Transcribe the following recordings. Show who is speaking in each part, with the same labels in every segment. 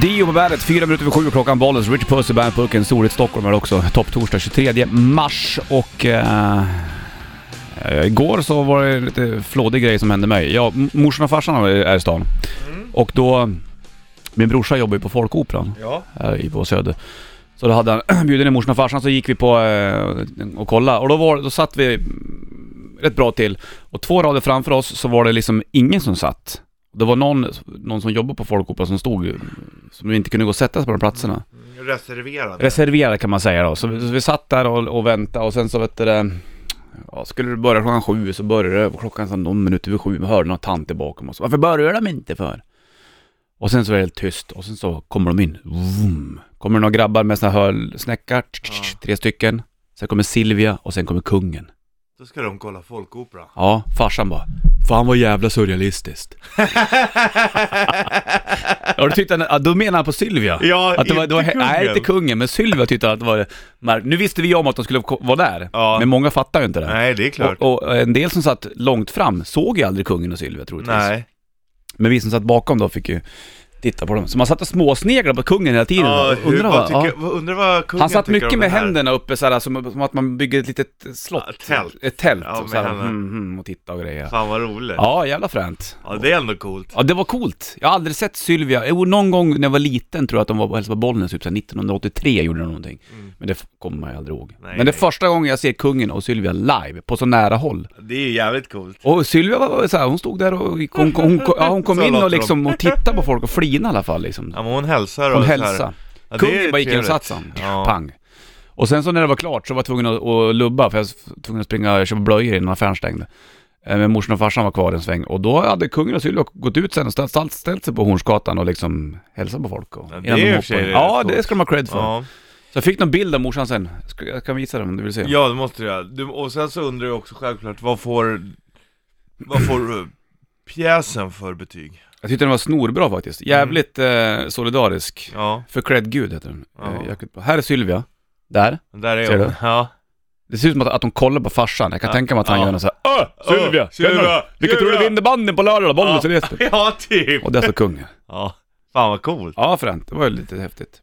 Speaker 1: Dio på bandet, fyra minuter över sju klockan, Bollens, Rich Puss i Bandpucken, Storhet Stockholm här också. Topptorsdag 23 mars och... eh, eh, igår så var det lite flådig grej som hände mig. Jag, m- morsan och farsan är är i stan. Och då... Min brorsa jobbar ju på Folkoperan
Speaker 2: Ja.
Speaker 1: här i- på Söder. Så då hade han bjudit ner morsan och farsan så gick vi på eh, och kolla och då, var, då satt vi mm, rätt bra till. Och två rader framför oss så var det liksom ingen som satt. Det var någon, någon som jobbade på Folkoperan som stod, ju, som inte kunde gå och sätta sig på de platserna.
Speaker 2: Reserverad.
Speaker 1: Mm. Reserverade kan man säga då. Så vi, så vi satt där och, och väntade och sen så vet du det, ja, skulle det börja klockan sju så började det klockan så någon minut över sju. Vi hörde någon tant bakom oss. Varför börjar de inte för? Och sen så är det helt tyst och sen så kommer de in. Vroom. Kommer det några grabbar med såna hörlsnäckar, tsch, tsch, tsch, tre stycken. Sen kommer Silvia och sen kommer kungen.
Speaker 2: Då ska de kolla folkopera.
Speaker 1: Ja, farsan bara. Fan vad jävla surrealistiskt. Ja, då tyckte han, ja, då menar han på Sylvia.
Speaker 2: Ja,
Speaker 1: att det var, det var,
Speaker 2: inte
Speaker 1: Nej,
Speaker 2: kungen.
Speaker 1: inte kungen, men Sylvia tyckte att det var märk- Nu visste vi om att de skulle ko- vara där,
Speaker 2: Ja.
Speaker 1: men många fattar ju inte det.
Speaker 2: Nej, det är klart.
Speaker 1: Och, och en del som satt långt fram såg ju aldrig kungen och Sylvia troligtvis.
Speaker 2: Nej.
Speaker 1: Men vi som satt bakom då fick ju titta på dem. Så man satt och småsneglade på kungen hela tiden.
Speaker 2: Ja,
Speaker 1: Och
Speaker 2: hur,
Speaker 1: undrar
Speaker 2: vad
Speaker 1: vad, ja.
Speaker 2: tycker, vad- undrar vad kungen
Speaker 1: Han satt
Speaker 2: tycker
Speaker 1: mycket
Speaker 2: om
Speaker 1: med
Speaker 2: det här.
Speaker 1: händerna uppe såhär, som, som att man bygger ett litet slott.
Speaker 2: Ja, tält.
Speaker 1: Ett tält.
Speaker 2: Ja,
Speaker 1: och
Speaker 2: med
Speaker 1: såhär,
Speaker 2: händerna.
Speaker 1: mm, mm, och titta och grejer.
Speaker 2: Fan vad roligt. Ja.
Speaker 1: Ja, jävla fränt.
Speaker 2: det är ändå coolt.
Speaker 1: Ja, det var coolt. Jag har aldrig sett Sylvia. Jo, någon gång när jag var liten tror jag att de var på hälsade på Bollnäs, typ så här 1983 gjorde de någonting. Men det f- kommer man ju aldrig ihåg.
Speaker 2: Mm. Nej,
Speaker 1: Men det är
Speaker 2: nej.
Speaker 1: första gången jag ser kungen och Sylvia live, på så nära håll.
Speaker 2: Det är ju jävligt coolt.
Speaker 1: Och Sylvia var- var så här, hon stod där och hon, hon, hon, ja, hon kom
Speaker 2: Så
Speaker 1: in
Speaker 2: låter
Speaker 1: och liksom och tittade på folk och flinade i alla fall liksom.
Speaker 2: Ja men hon hälsar och
Speaker 1: Hon
Speaker 2: så här.
Speaker 1: hälsade.
Speaker 2: Ja, det är
Speaker 1: Kungen bara gick in och
Speaker 2: trevligt.
Speaker 1: satt så han.
Speaker 2: Ja.
Speaker 1: Pang. Och sen så när det var klart så var jag tvungen att, att lubba för jag var tvungen att springa och köpa blöjor innan affären stängde. Eh, Men morsan och farsan var kvar en sväng och då hade kungen och Sylvia gått ut sen och ställt, ställt- ställt sig på Hornsgatan och liksom hälsat på folk. Och,
Speaker 2: Ja, det
Speaker 1: innan
Speaker 2: är
Speaker 1: de
Speaker 2: i och för
Speaker 1: hoppade
Speaker 2: sig
Speaker 1: in.
Speaker 2: rätt
Speaker 1: Ja, det
Speaker 2: coolt.
Speaker 1: ska de ha cred för.
Speaker 2: Ja.
Speaker 1: Så jag fick någon bild av morsan sen. Ska- Jag kan visa den om du vill se.
Speaker 2: ja, det måste du göra. Du, och sen så undrar jag också självklart, vad får, vad får eh, pjäsen för betyg?
Speaker 1: Jag tyckte den var snorbra faktiskt. Jävligt eh, solidarisk.
Speaker 2: Mm. Ja,
Speaker 1: För cred Gud heter den.
Speaker 2: Ja.
Speaker 1: Eh, Jakob- här är Sylvia. Där.
Speaker 2: där är
Speaker 1: Ser
Speaker 2: hon.
Speaker 1: du?
Speaker 2: Ja.
Speaker 1: Det ser ut som att, att de kollar på farsan. Jag kan
Speaker 2: Ja.
Speaker 1: tänka mig att han
Speaker 2: Ja.
Speaker 1: gör någon så här. Öh, Sylvia!
Speaker 2: Öh, Sylvia,
Speaker 1: Sylvia! Vilka tror du
Speaker 2: Sylvia!"
Speaker 1: vinner banden på lördag då? Bollnäs
Speaker 2: Ja.
Speaker 1: och Lesbo.
Speaker 2: ja, typ.
Speaker 1: Och där står kungen.
Speaker 2: Ja, fan vad coolt.
Speaker 1: Ja fränt, det var ju lite häftigt.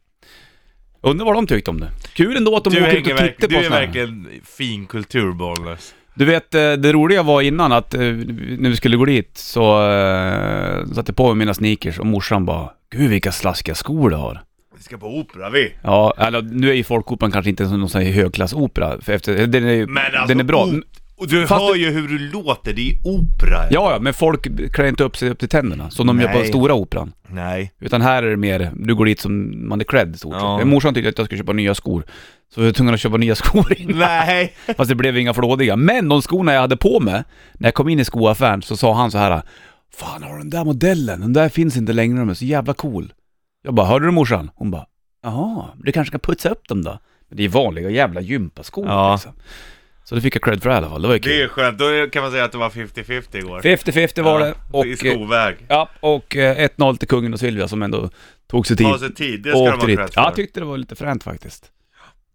Speaker 1: Undrar vad de tyckte om det. Kul ändå att de
Speaker 2: Du,
Speaker 1: åker ut
Speaker 2: hänger
Speaker 1: och tittar
Speaker 2: verk,
Speaker 1: på
Speaker 2: du är
Speaker 1: såna här.
Speaker 2: verkligen fin kultur, Bollnäs.
Speaker 1: Du vet, eh, det roliga var innan att eh, när vi skulle gå dit så eh, satte jag på mig mina sneakers och morsan bara Gud vilka slaskiga skor du har.
Speaker 2: Vi ska på opera vi.
Speaker 1: Ja, eller nu är ju folkoperan kanske inte någon sån här högklassopera, för efter, den är, ju-
Speaker 2: Men alltså,
Speaker 1: den är bra. Mm.
Speaker 2: o- Och du
Speaker 1: Fast
Speaker 2: hör
Speaker 1: det-
Speaker 2: ju hur du låter, det är opera.
Speaker 1: Ja, ja, men folk klär inte upp sig upp till tänderna som de gör på
Speaker 2: Nej.
Speaker 1: stora operan.
Speaker 2: Nej.
Speaker 1: Utan här är det mer, du går dit som man är klädd i stort sett.
Speaker 2: Ja.
Speaker 1: Men Morsan tyckte att jag skulle köpa nya skor. Så vi var tvungna att köpa nya skor in.
Speaker 2: Nej.
Speaker 1: Fast det blev inga flådiga. Men de skorna jag hade på mig, när jag kom in i skoaffären så sa han så här. Fan har du den där modellen? Den där finns inte längre, de är så jävla cool. Jag bara, hörde du morsan? Hon bara, jaha, du kanske kan putsa upp dem då? Men det är vanliga jävla gympaskor
Speaker 2: Ja.
Speaker 1: liksom. Så det fick jag cred för i alla fall, det var ju
Speaker 2: Det
Speaker 1: kul.
Speaker 2: är skönt, då kan man säga att det var 50-50 igår.
Speaker 1: 50-50 var det.
Speaker 2: Och, I
Speaker 1: Och, eh,
Speaker 2: skoväg.
Speaker 1: ja, och eh, 1-0 till kungen och Sylvia som ändå tog sig tid.
Speaker 2: Ta sig tid, det ska de ha
Speaker 1: åkte dit.
Speaker 2: cred för.
Speaker 1: Ja, jag tyckte det var lite fränt faktiskt.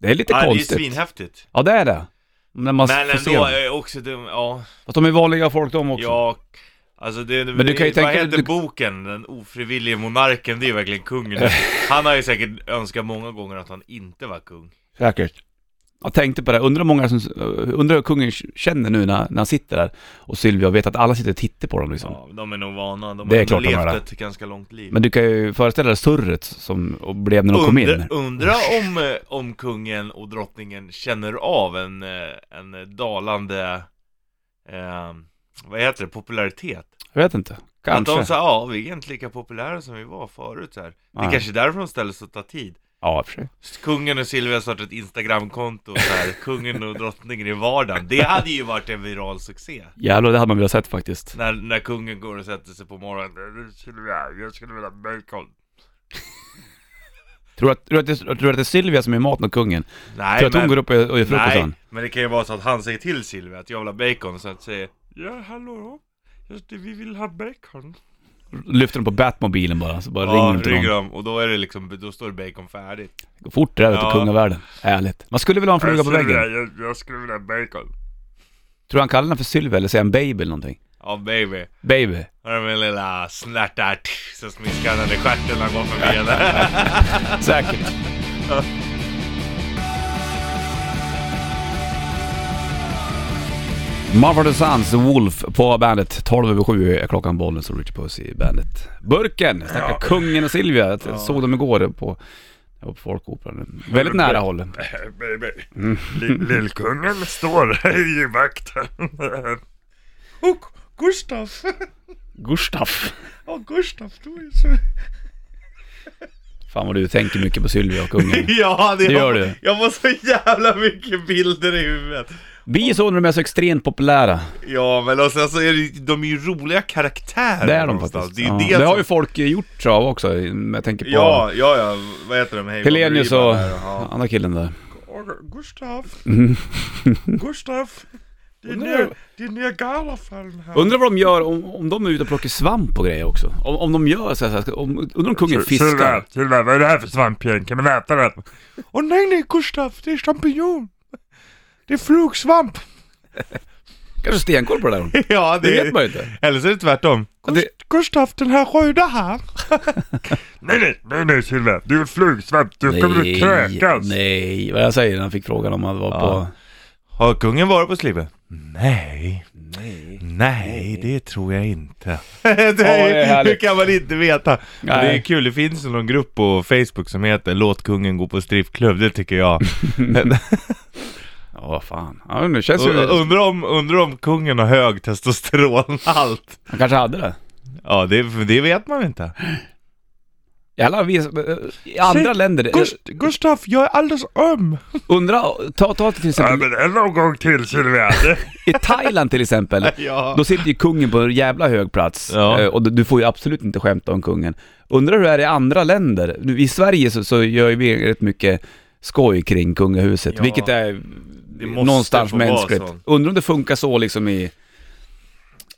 Speaker 1: Det är lite
Speaker 2: Ja,
Speaker 1: konstigt.
Speaker 2: Det är svinhäftigt.
Speaker 1: ja, det är det. När man
Speaker 2: Men
Speaker 1: får se
Speaker 2: ändå,
Speaker 1: dem.
Speaker 2: är också dum, ja,
Speaker 1: Fast de är vanliga folk de också.
Speaker 2: ja. Alltså det,
Speaker 1: Men du kan ju
Speaker 2: vad
Speaker 1: tänka-
Speaker 2: heter
Speaker 1: du-
Speaker 2: boken? Den ofrivillige monarken, det är ju verkligen kungen. Han har ju säkert önskat många gånger att han inte var kung.
Speaker 1: Säkert. Jag tänkte på det, undrar hur många som, eh, undrar hur kungen känner nu när, när han sitter där och Sylvia vet att alla sitter och tittar på dem liksom.
Speaker 2: Ja, de är nog vana, de
Speaker 1: Det är
Speaker 2: har
Speaker 1: klart
Speaker 2: nog
Speaker 1: de har
Speaker 2: levt ett ganska långt liv.
Speaker 1: Men du kan ju föreställa dig surret som och blev när de kom in.
Speaker 2: Undra, undra om, eh, om kungen och drottningen känner av en, eh, en dalande, eh, vad heter det, popularitet?
Speaker 1: Jag vet inte.
Speaker 2: Att
Speaker 1: Kanske.
Speaker 2: de sa, ja vi är egentligen lika populära som vi var förut så här. Det
Speaker 1: Nej.
Speaker 2: är kanske är därför de ställer så att ta tid.
Speaker 1: Ja, i och för sig.
Speaker 2: Kungen och Silvia har startat ett Instagramkonto så här, kungen och drottningen i vardagen. Det hade ju varit en viral succé.
Speaker 1: Jävlar, det hade man velat sett faktiskt.
Speaker 2: När, när kungen går och sätter sig på morgonen, Silvia, jag skulle vilja ha bacon.
Speaker 1: Tror du att, tror du att, det, tror du att det är Sylvia som är maten åt kungen?
Speaker 2: Nej,
Speaker 1: tror du att hon går upp och och gör frukosten?
Speaker 2: Nej, men det kan ju vara så att han säger till Silvia att jag vill ha bacon och sen säger Ja, hallå? Just det, vi vill ha bacon.
Speaker 1: Lyfter de på Batmobilen bara, så bara
Speaker 2: Ja,
Speaker 1: ringer de till någon.
Speaker 2: ringer de och då är det liksom, då står det bacon färdigt.
Speaker 1: Gå fort det där ute i
Speaker 2: Ja. Alltså,
Speaker 1: kungavärlden. Härligt. Man skulle vilja ha en fluga på
Speaker 2: Silvia,
Speaker 1: väggen.
Speaker 2: Jag, jag skulle vilja ha bacon.
Speaker 1: Tror du han kallar den för Sylvia eller säger han baby eller någonting?
Speaker 2: Ja baby.
Speaker 1: Baby.
Speaker 2: Har du min lilla snärta tch, så smiskar han i stjärten när han går förbi henne.
Speaker 1: Säkert. Mumford Sons, Wolf på bandet. 12 över 7 är klockan, bollen så Richard Puss i bandet. Burken, snacka kungen och Silvia. Jag såg dem igår på, jag var på Folkoperan. Väldigt nära håll.
Speaker 2: baby.
Speaker 1: Mm.
Speaker 2: Lill- Lillkungen står i vakten. Och Gustav.
Speaker 1: Gustaf.
Speaker 2: Ja, Gustav, du är så...
Speaker 1: Fan vad du tänker mycket på Sylvia och kungen.
Speaker 2: Ja, det,
Speaker 1: Det gör
Speaker 2: jag,
Speaker 1: du.
Speaker 2: Jag får så jävla mycket bilder i huvudet.
Speaker 1: Bisoner de är så extremt populära.
Speaker 2: Ja, men och sen så är det, ju- de är ju roliga karaktärer
Speaker 1: Det är de
Speaker 2: någonstans.
Speaker 1: faktiskt.
Speaker 2: Det, är ju
Speaker 1: ja.
Speaker 2: det,
Speaker 1: det har
Speaker 2: som-
Speaker 1: ju folk gjort av också. Jag tänker på
Speaker 2: Ja, ja, ja. Vad heter de? Hey,
Speaker 1: Helenius
Speaker 2: Bob
Speaker 1: och
Speaker 2: Ryman där, ja.
Speaker 1: andra killen där.
Speaker 2: Och Gustav,
Speaker 1: Mm.
Speaker 2: Gustav. Det är,
Speaker 1: Undrar-
Speaker 2: ner, det är Niagarafallen här.
Speaker 1: Undrar vad de gör om, om de är ute och plockar svamp och grejer också. Om, om de gör så här, så här om, undrar om kungen fiskar.
Speaker 2: Silver, vad är det här för svampgäng? Kan man äta den? Åh nej, nej Gustav, det är champinjon. Det är flugsvamp.
Speaker 1: Kanske stenkoll på det där.
Speaker 2: ja,
Speaker 1: Det vet man ju inte.
Speaker 2: Eller så är det tvärtom.
Speaker 1: Ja, det-
Speaker 2: Gustav, den här röda här. nej, nej, nej, nej Silver, du är flugsvamp, du
Speaker 1: nej, vad jag säger när han fick frågan om han var
Speaker 2: Ja.
Speaker 1: på...
Speaker 2: Har kungen varit på Slibe? Nej, nej, det tror jag inte. det
Speaker 1: är
Speaker 2: är,
Speaker 1: härligt.
Speaker 2: hur kan man inte veta? Och Det är
Speaker 1: Nej.
Speaker 2: kul, det finns ju någon grupp på Facebook som heter Låt kungen gå på strippklubb, det tycker jag.
Speaker 1: Ja, fan. Ja, men det känns ju...
Speaker 2: Och Undrar om, undrar om kungen har hög testosteronhalt?
Speaker 1: Han kanske hade det.
Speaker 2: Ja, det, det vet man inte.
Speaker 1: Jävlar, vi, i andra länder...
Speaker 2: Gustav, jag är alldeles öm.
Speaker 1: Undra, ta, ta till exempel
Speaker 2: en någon gång till Sylvia.
Speaker 1: i Thailand till exempel.
Speaker 2: ja.
Speaker 1: Då sitter ju kungen på en jävla hög plats
Speaker 2: Ja.
Speaker 1: Eh, och du- du får ju absolut inte skämta om kungen. Undrar hur det är i andra länder? Nu, I Sverige så, så gör ju vi rätt mycket skoj kring kungahuset,
Speaker 2: Ja.
Speaker 1: vilket är
Speaker 2: måste
Speaker 1: någonstans
Speaker 2: få vara
Speaker 1: mänskligt.
Speaker 2: så.
Speaker 1: Undrar om det funkar så liksom i,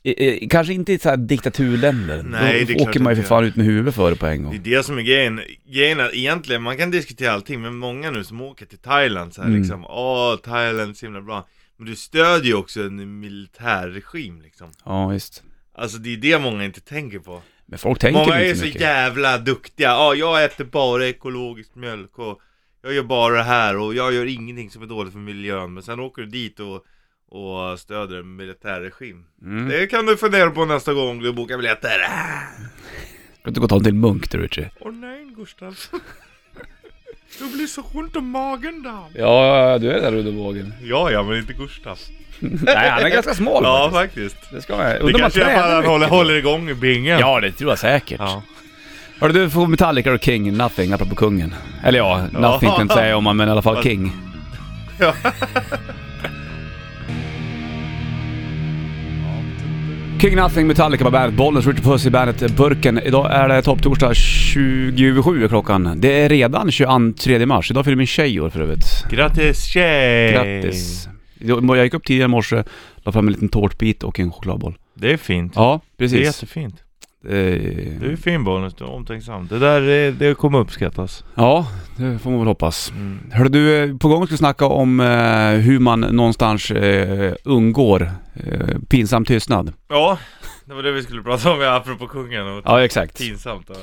Speaker 1: i, i kanske inte i så här diktaturländer.
Speaker 2: Nej,
Speaker 1: Då
Speaker 2: det är klart
Speaker 1: åker man ju för
Speaker 2: inte.
Speaker 1: fan ut med huvudet för det på en
Speaker 2: Det är
Speaker 1: gång.
Speaker 2: det som är grejen. Grejen är att egentligen, man kan diskutera allting, men många nu som åker till Thailand så här
Speaker 1: Mm.
Speaker 2: liksom, åh Thailand är så himla bra. Men du stödjer ju också en militärregim liksom.
Speaker 1: Ja, visst.
Speaker 2: Alltså det är det många inte tänker på.
Speaker 1: Men folk tänker
Speaker 2: Många
Speaker 1: ju
Speaker 2: är
Speaker 1: inte
Speaker 2: så
Speaker 1: så mycket.
Speaker 2: jävla duktiga, ja jag äter bara ekologiskt mjölk och jag gör bara det här och jag gör ingenting som är dåligt för miljön Men sen åker du dit och, och stöder en militärregim
Speaker 1: Mm.
Speaker 2: Det kan du fundera på nästa gång du bokar biljetter
Speaker 1: Ska du inte gå och ta en till munk du Richie?
Speaker 2: Åh nej Gustav Du blir så ont om magen då
Speaker 1: Ja, ja, du är där under vågen.
Speaker 2: Ja ja men inte Gustav
Speaker 1: Nej, han är ganska smal
Speaker 2: Ja
Speaker 1: faktiskt.
Speaker 2: faktiskt
Speaker 1: Det ska man
Speaker 2: Det
Speaker 1: Undrar om han
Speaker 2: kanske är för
Speaker 1: tränar
Speaker 2: att han
Speaker 1: mycket.
Speaker 2: håller, håller igång i bingen
Speaker 1: Ja, det tror jag säkert.
Speaker 2: Ja.
Speaker 1: Hörru du, får Metallica och King, Nothing, apropå kungen. Eller ja, Nothing kan jag inte säga om man, men i alla fall King.
Speaker 2: Ja.
Speaker 1: King Nothing, Metallica på bandet, Bollens, Richard Puss i bandet, Burken. Idag är det topptorsdag 27 är klockan. Det är redan 23 mars, idag fyller min tjej år för övrigt.
Speaker 2: Grattis tjej!
Speaker 1: Grattis! Jag gick upp tidigare i morse, la fram en liten tårtbit och en chokladboll.
Speaker 2: Det är fint
Speaker 1: Ja,
Speaker 2: Det är
Speaker 1: precis.
Speaker 2: jättefint
Speaker 1: Eh,
Speaker 2: Du är fin Bonus, du är omtänksam. Det där eh, det kommer uppskattas.
Speaker 1: Ja, det får man väl hoppas.
Speaker 2: Mm.
Speaker 1: Hörru du, eh, på gång ska vi snacka om eh, hur man någonstans eh, undgår eh, pinsam tystnad.
Speaker 2: Ja, det var det vi skulle prata om ja, apropå kungen och
Speaker 1: Ja, exakt.
Speaker 2: pinsamt. och-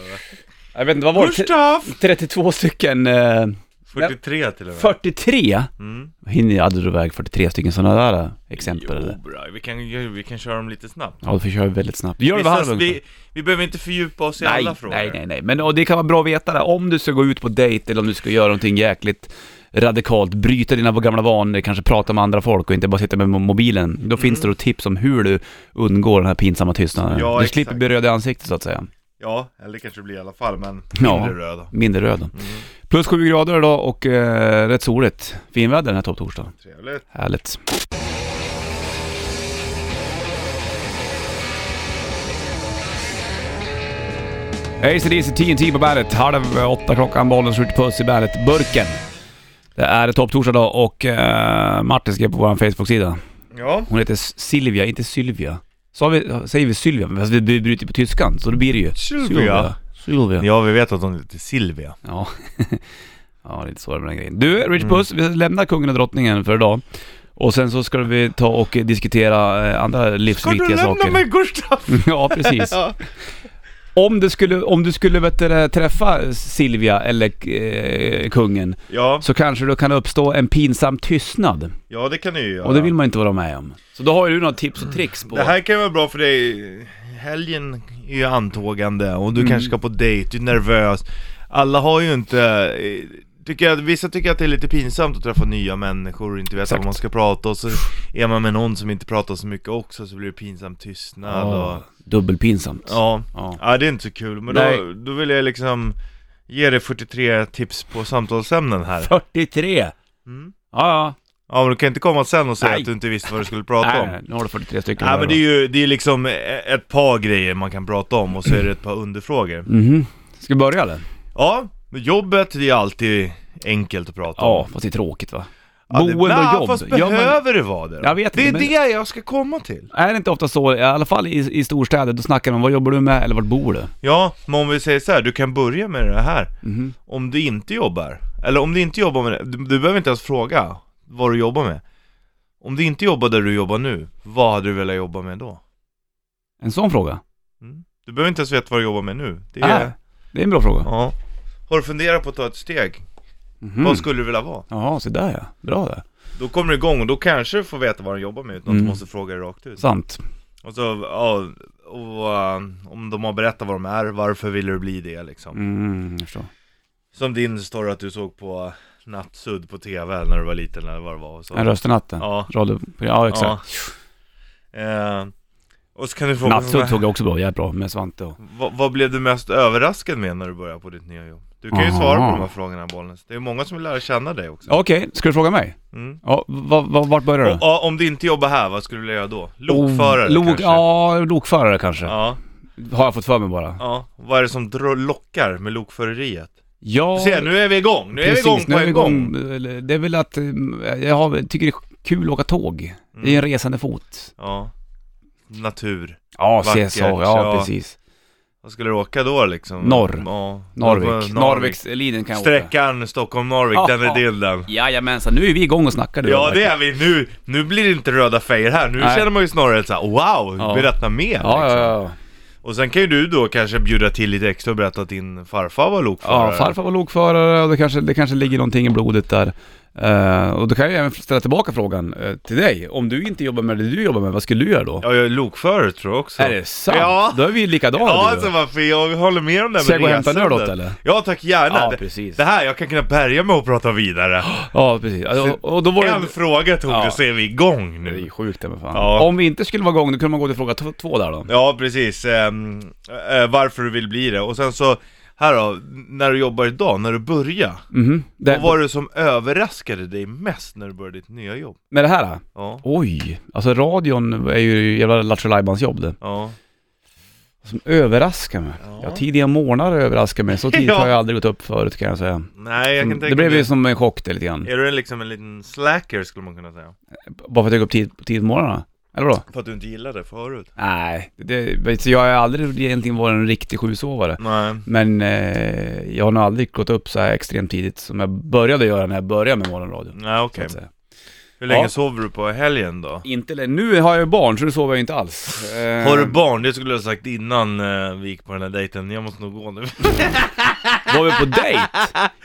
Speaker 1: Jag vet inte, vad var det? T-
Speaker 2: Gustav!
Speaker 1: 32 stycken, eh,
Speaker 2: 43 till och med.
Speaker 1: 43?
Speaker 2: Mm.
Speaker 1: Hinner jag aldrig dra iväg 43 stycken sådana där eh, exempel
Speaker 2: Jo,
Speaker 1: eller?
Speaker 2: bra. Vi, kan, ju- vi kan köra dem lite snabbt.
Speaker 1: Ja, då får vi köra väldigt snabbt. Gör det vid
Speaker 2: Vissa-
Speaker 1: halv
Speaker 2: vi, vi behöver inte fördjupa oss i
Speaker 1: nej,
Speaker 2: alla frågor.
Speaker 1: nej, nej, nej. Men och det kan vara bra att veta det. Om du ska gå ut på dejt eller om du ska göra någonting jäkligt radikalt, bryta dina gamla vanor, kanske prata med andra folk och inte bara sitta med mo- mobilen.
Speaker 2: Mm.
Speaker 1: Då finns det då tips om hur du undgår den här pinsamma tystnaden.
Speaker 2: Ja,
Speaker 1: du
Speaker 2: exakt.
Speaker 1: slipper bli röd i ansiktet så att säga.
Speaker 2: Ja, eller det kanske det blir i alla fall, men
Speaker 1: Ja.
Speaker 2: mindre röda.
Speaker 1: Mindre röd.
Speaker 2: Mm.
Speaker 1: Plus 7 grader idag och eh, rätt soligt. Finväder den här topptorsdagen.
Speaker 2: Trevligt.
Speaker 1: Härligt. ACDC TNT på bandet. Halv åtta klockan, bollen skjuter puss i bandet. Burken. Det är topptorsdag idag och eh, Martin skrev på vår Facebook-sida.
Speaker 2: Ja,
Speaker 1: Hon heter S- Silvia, inte Sylvia. Så har vi, säger vi Sylvia, men fast vi bryter på tyskan, så då blir det ju...
Speaker 2: Sylvia.
Speaker 1: Sylvia.
Speaker 2: ja vi vet att hon heter Silvia.
Speaker 1: Ja.
Speaker 2: Mm.
Speaker 1: ja, det är lite svårare med den grejen. Du, Rich Puss, vi lämnar kungen och drottningen för idag. Och sen så ska vi ta och diskutera eh, andra
Speaker 2: Ska du
Speaker 1: livsviktiga
Speaker 2: lämna
Speaker 1: saker.
Speaker 2: mig Gustav?
Speaker 1: ja, precis.
Speaker 2: Ja.
Speaker 1: Om du skulle, om du skulle vet du, det, träffa Silvia eller eh, kungen
Speaker 2: Ja,
Speaker 1: så kanske det kan uppstå en pinsam tystnad.
Speaker 2: ja det kan du ju göra.
Speaker 1: Och det vill man inte vara med om. Så då har ju du några tips och tricks på...
Speaker 2: Det här kan ju vara bra för dig. Helgen är ju antågande och
Speaker 1: Mm.
Speaker 2: du kanske ska på dejt, du är nervös. Alla har ju inte... eh, Tycker jag, vissa tycker att det är lite pinsamt att träffa nya människor och inte veta
Speaker 1: Exakt.
Speaker 2: vad man ska prata och så är man med någon som inte pratar så mycket också så blir det pinsam tystnad
Speaker 1: Ja,
Speaker 2: och...
Speaker 1: dubbelpinsamt.
Speaker 2: Ja.
Speaker 1: Ja.
Speaker 2: ja, det är inte så kul. Men då,
Speaker 1: Nej.
Speaker 2: då vill jag liksom ge dig 43 tips på samtalsämnen här.
Speaker 1: 43!
Speaker 2: Mm.
Speaker 1: Ja,
Speaker 2: Ja, men du kan inte komma sen och säga
Speaker 1: Nej.
Speaker 2: att du inte visste vad du skulle
Speaker 1: ja.
Speaker 2: prata om.
Speaker 1: Nej, nu har du 43 stycken.
Speaker 2: Nej
Speaker 1: här
Speaker 2: men
Speaker 1: då.
Speaker 2: det är ju det är liksom ett par grejer man kan prata om och så är det ett par underfrågor.
Speaker 1: Mhm. Ska vi börja eller?
Speaker 2: Ja, men jobbet det är alltid enkelt att prata om.
Speaker 1: Ja, fast det är tråkigt va?
Speaker 2: Ja, det-
Speaker 1: Boende
Speaker 2: Nej,
Speaker 1: och jobb.
Speaker 2: Fast
Speaker 1: Ja, men-
Speaker 2: behöver det vara det? då?
Speaker 1: Jag vet
Speaker 2: det är
Speaker 1: inte, men-
Speaker 2: det jag ska komma till.
Speaker 1: Är det inte ofta så, i alla fall i, i storstäder, då snackar man vad jobbar du med eller vart bor du?
Speaker 2: Ja, men om vi säger så här, du kan börja med det här.
Speaker 1: Mhm.
Speaker 2: Om du inte jobbar, eller om du inte jobbar med det, du, du behöver inte ens fråga vad du jobbar med. Om du inte jobbar där du jobbar nu, vad hade du velat jobba med då?
Speaker 1: En sån fråga?
Speaker 2: Mm? Du behöver inte ens veta vad du jobbar med nu. Det
Speaker 1: Det är,
Speaker 2: är,
Speaker 1: det är en bra fråga.
Speaker 2: ja. Har du funderat på att ta ett steg?
Speaker 1: Mhm.
Speaker 2: Vad skulle du vilja vara?
Speaker 1: Jaha, så där ja. Bra där.
Speaker 2: Då kommer du igång och då kanske du får veta vad de jobbar med utan att du
Speaker 1: Mm.
Speaker 2: måste fråga det rakt ut
Speaker 1: Sant.
Speaker 2: Och så, ja, och, eh, om de har berättat vad de är, varför ville du bli det liksom?
Speaker 1: Mm, jag förstår.
Speaker 2: Som din story att du såg på Nattsudd på TV när du var liten eller vad det var och så.
Speaker 1: En röst i natten.
Speaker 2: Ja,
Speaker 1: Radio... Ja, exakt.
Speaker 2: ja. Eh, och så kan du
Speaker 1: Ja.
Speaker 2: fråga
Speaker 1: Nattsudd såg jag också bra, jävligt bra med Svante och...
Speaker 2: vad, vad blev du mest överraskad med när du började på ditt nya jobb? Du kan ju svara på
Speaker 1: Aha.
Speaker 2: de här frågorna Bollnäs, det är många som vill lära känna dig också
Speaker 1: Okej, ska du fråga mig?
Speaker 2: mm.
Speaker 1: Ja, va, va, vart börjar
Speaker 2: och,
Speaker 1: du?
Speaker 2: och, Om du inte jobbar här, vad skulle du vilja göra då? Lokförare
Speaker 1: Lok,
Speaker 2: kanske?
Speaker 1: Ja, lokförare kanske.
Speaker 2: ja.
Speaker 1: Har jag fått för mig bara.
Speaker 2: Ja, vad är det som dro- lockar med lokföreriet?
Speaker 1: Ja,
Speaker 2: Se, nu är vi igång! Nu är vi igång på
Speaker 1: nu är
Speaker 2: en
Speaker 1: vi
Speaker 2: gång!
Speaker 1: igång. Eller, Det är väl att eh, jag har- tycker det är kul att åka tåg. Det är en resande fot.
Speaker 2: Mm. Ja. Natur.
Speaker 1: Ja,
Speaker 2: Vackert,
Speaker 1: CSA, ja,
Speaker 2: ja.
Speaker 1: precis.
Speaker 2: Vad skulle du åka då liksom?
Speaker 1: Norr.
Speaker 2: Ja.
Speaker 1: Norvik. Norvikslinjen kan jag åka.
Speaker 2: Sträckan Stockholm-Norvik, den är
Speaker 1: Ja.
Speaker 2: din den.
Speaker 1: Jajamensan, nu är vi igång och snackar du
Speaker 2: Ja det är vi, nu, nu blir det inte röda fejder här, nu
Speaker 1: Nej.
Speaker 2: känner man ju snarare såhär wow,
Speaker 1: Ja.
Speaker 2: berätta mer!
Speaker 1: Ja, ja,
Speaker 2: liksom.
Speaker 1: ja.
Speaker 2: Och sen kan ju du då kanske bjuda till lite extra och berätta att din farfar var lokförare.
Speaker 1: ja farfar var lokförare och det kanske, det kanske ligger någonting i blodet där. Eh, och då kan jag även ställa tillbaka frågan eh, till dig. Om du inte jobbar med det du jobbar med, vad skulle du göra då?
Speaker 2: Ja, jag är lokförare tror jag också.
Speaker 1: Är det sant?
Speaker 2: Ja.
Speaker 1: Då är vi likadana du och
Speaker 2: Ja,
Speaker 1: jag.
Speaker 2: alltså varför, jag håller med om det här
Speaker 1: Ska jag
Speaker 2: med
Speaker 1: gå och hämta en öl åt
Speaker 2: resandet.
Speaker 1: eller?
Speaker 2: Ja tack, gärna!
Speaker 1: Ja,
Speaker 2: Det-
Speaker 1: precis.
Speaker 2: Det här, jag kan kunna bärga mig och prata vidare.
Speaker 1: Ja, precis. Ja, Och, och då var
Speaker 2: En
Speaker 1: det...
Speaker 2: fråga tog
Speaker 1: Ja.
Speaker 2: du, så är vi igång
Speaker 1: Det är
Speaker 2: nu.
Speaker 1: sjukt det men fan.
Speaker 2: Mm. Ja.
Speaker 1: Om vi inte skulle vara igång, då kunde man gå till fråga t- två där då.
Speaker 2: Ja, precis. Ehm, eh, varför du vill bli det. Och sen så, här då, när du jobbar idag, när du börjar.
Speaker 1: Mhm. Det,
Speaker 2: Vad var det som överraskade dig mest när du började ditt nya jobb?
Speaker 1: Med det här då?
Speaker 2: Ja,
Speaker 1: Oj, alltså radion är ju jävla Lattjo Lajbans jobb det.
Speaker 2: ja.
Speaker 1: Som överraskar mig.
Speaker 2: Ja.
Speaker 1: Ja. tidiga morgnar överraskar mig. Så tidigt
Speaker 2: Ja.
Speaker 1: har jag aldrig gått upp förut kan jag säga.
Speaker 2: Nej, jag
Speaker 1: Som,
Speaker 2: kan tänka
Speaker 1: Mm, det blev
Speaker 2: mig-
Speaker 1: ju som en chock det lite grann.
Speaker 2: Är du en liksom en liten slacker skulle man kunna säga?
Speaker 1: Bara för att jag gick upp tid, tidigt på morgnarna. Eller då?
Speaker 2: För att du inte gillade det förut?
Speaker 1: Nej, det, så jag har aldrig egentligen varit en riktig sjusovare.
Speaker 2: Nej.
Speaker 1: Men eh, jag har nog aldrig gått upp så här extremt tidigt som jag började göra när jag började med morgonradion.
Speaker 2: Nej,
Speaker 1: så
Speaker 2: okej.
Speaker 1: att säga.
Speaker 2: Hur länge
Speaker 1: Ja.
Speaker 2: sover du på helgen då?
Speaker 1: Inte lä- Nu har jag ju barn så nu sover jag ju inte alls. Eh,
Speaker 2: Har du barn? Det skulle jag ha sagt innan eh, vi gick på den här dejten. Jag måste nog gå nu.
Speaker 1: Var vi på dejt?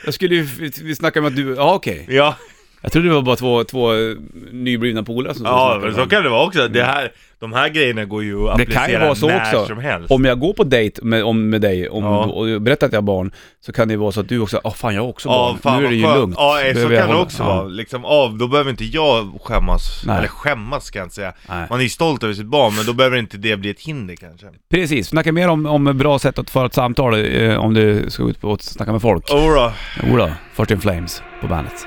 Speaker 1: Jag skulle ju, vi snackade om att du, ja okej.
Speaker 2: ja.
Speaker 1: Jag trodde det var bara två, två eh, nyblivna polare som
Speaker 2: Ja,
Speaker 1: snackade
Speaker 2: men
Speaker 1: om
Speaker 2: så
Speaker 1: det.
Speaker 2: kan det vara också. Det här, de här grejerna går ju att
Speaker 1: Det kan ju
Speaker 2: applicera
Speaker 1: vara så
Speaker 2: när
Speaker 1: också.
Speaker 2: som helst.
Speaker 1: Om jag går på dejt med, om, med dig om,
Speaker 2: Ja.
Speaker 1: och jag berättar att jag har barn, så kan det ju vara så att du också, åh fan jag har också
Speaker 2: Ja,
Speaker 1: barn,
Speaker 2: fan
Speaker 1: nu är
Speaker 2: vad
Speaker 1: det ju
Speaker 2: skönt.
Speaker 1: lugnt.
Speaker 2: Ja, eh, så
Speaker 1: Behöver jag
Speaker 2: kan det
Speaker 1: hålla-
Speaker 2: också
Speaker 1: ja.
Speaker 2: vara. Liksom, av, då behöver inte jag skämmas.
Speaker 1: Nej.
Speaker 2: Eller skämmas kan jag inte säga.
Speaker 1: Nej.
Speaker 2: Man är ju stolt över sitt barn, men då behöver inte det bli ett hinder kanske.
Speaker 1: Precis, snacka mer om, om bra sätt att föra ett samtal eh, om du ska ut på och snacka med folk.
Speaker 2: Oh, då.
Speaker 1: Jodå, First in Flames på bandet.